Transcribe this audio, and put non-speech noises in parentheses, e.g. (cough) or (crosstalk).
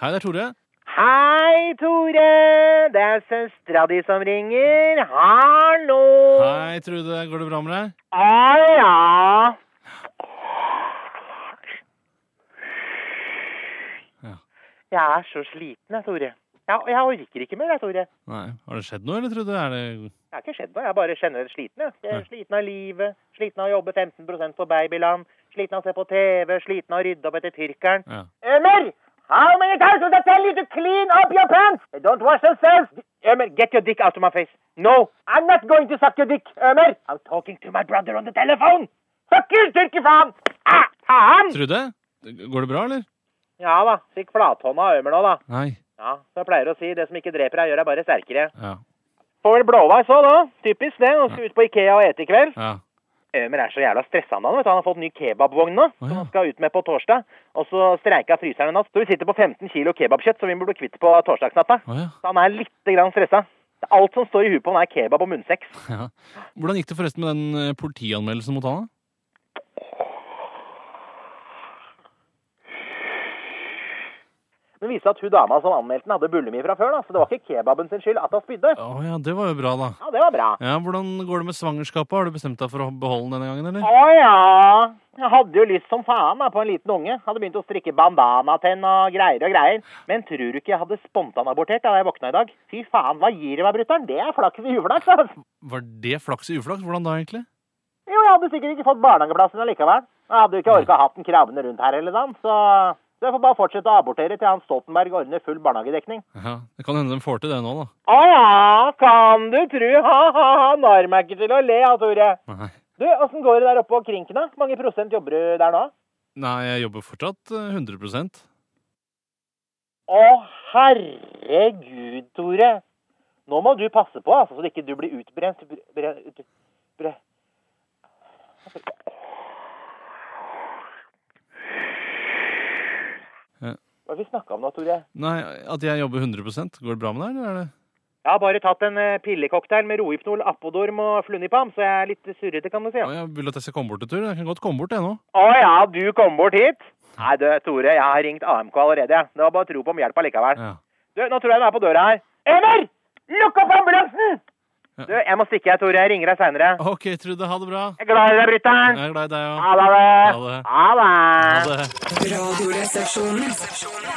Hei, det er Tore. Hei, Tore! Det er søstera di som ringer. Hallo! Hei, Trude. Går det bra med deg? Å ja. Ja. Jeg er så sliten, jeg, Tore. Jeg, jeg orker ikke mer, jeg, Tore. Nei. Har det skjedd noe, eller, Trude? Er det... Det har ikke skjedd noe. Jeg er bare generelt sliten. Jeg. jeg Ja. er sliten av livet, sliten av å jobbe 15 på babyland, sliten av å se på TV, sliten av å rydde opp etter tyrkeren. Ja. Emil! How many times did I tell you to clean up your pants? They don't wash themselves. Emil, get your dick out of my face. No, I'm not going to suck your dick, Emil. I'm talking to my brother on the telephone. Fucker, tyrkerfaen! Ah, faen! Trude? Går det bra, eller? Ja da, fikk flathånda av Emil nå da. Nei. Ja, som jeg pleier å si, det som ikke dreper deg gjør deg bare sterkere. Ja. Får vel blåveis òg, da. Typisk det. Nå skal vi ut på Ikea og ete i kveld. Ja. Ømer er så jævla stressa nå. vet du. Han har fått ny kebabvogn nå, Å, ja. som han skal ut med på torsdag. Og så streika fryseren i natt. Så vi sitter på 15 kilo kebabkjøtt som vi burde kvitt på torsdagsnatta. Å ja. (laughs) Så han er litt grann stressa. Alt som står i huet på han er kebab og munnsex. ja. Hvordan gikk det forresten med den eh, politianmeldelsen mot han? da? Men det viste seg at hun dama som anmeldte den, hadde bulimi fra før, da. Så det var ikke kebaben sin skyld at han spydde. Å ja, det var jo bra, da. Ja, det var bra. Ja, Hvordan går det med svangerskapet? Har du bestemt deg for å beholde den denne gangen, eller? Å ja. Jeg hadde jo lyst som faen da, på en liten unge. Hadde begynt å strikke bandanatenn og greier og greier. Men tror du ikke jeg hadde spontanabortert da jeg våkna i dag? Fy faen, hva gir det meg, brutter'n? Det er flaks i uflaks, altså. Var det flaks i uflaks? Hvordan da, egentlig? Jo, jeg hadde sikkert ikke fått barnehageplassen allikevel. Jeg hadde jo ikke orka hatt den kravende rundt her hele dagen, så så jeg får bare fortsette å abortere til Hans Stoltenberg ordner full barnehagedekning. Ja, Det kan hende de får til det nå, da. Å ja, kan du tru, ha-ha-ha, nar meg ikke til å le av, Tore. Nei, Du, åssen går det der oppe på Krinken, da? Mange prosent jobber du der nå? Nei jeg jobber fortsatt eh, 100 Å, herregud, Tore. Nå må du passe på, altså, så ikke du blir utbrent. Bre, bre, ut- bre. Ja. Hva har vi snakka om nå, Tore? Nei, at jeg jobber 100 Går det bra med deg, eller er det Jeg har bare tatt en eh, pillecocktail med Rohypnol, Apodorm og Flunipam, så jeg er litt surrete, kan du si. Å, Jeg vil at jeg skal komme bort en tur. Jeg kan godt komme bort, jeg nå. Å ja, du kom bort hit? Nei, du, Tore, jeg har ringt AMK allerede. jeg. Det var bare å tro på om hjelp allikevel. Ja. Du, nå tror jeg den er på døra her. Emmer! Lukk opp ambulansen! Ja. Du, jeg må stikke, jeg, Tore. Jeg ringer deg seinere. OK, Trude. Ha det bra. Jeg er glad i deg, brytter'n. Jeg er glad i deg òg. Ha det. Ha det. Ha Ha det. det. Radioresepsjonen.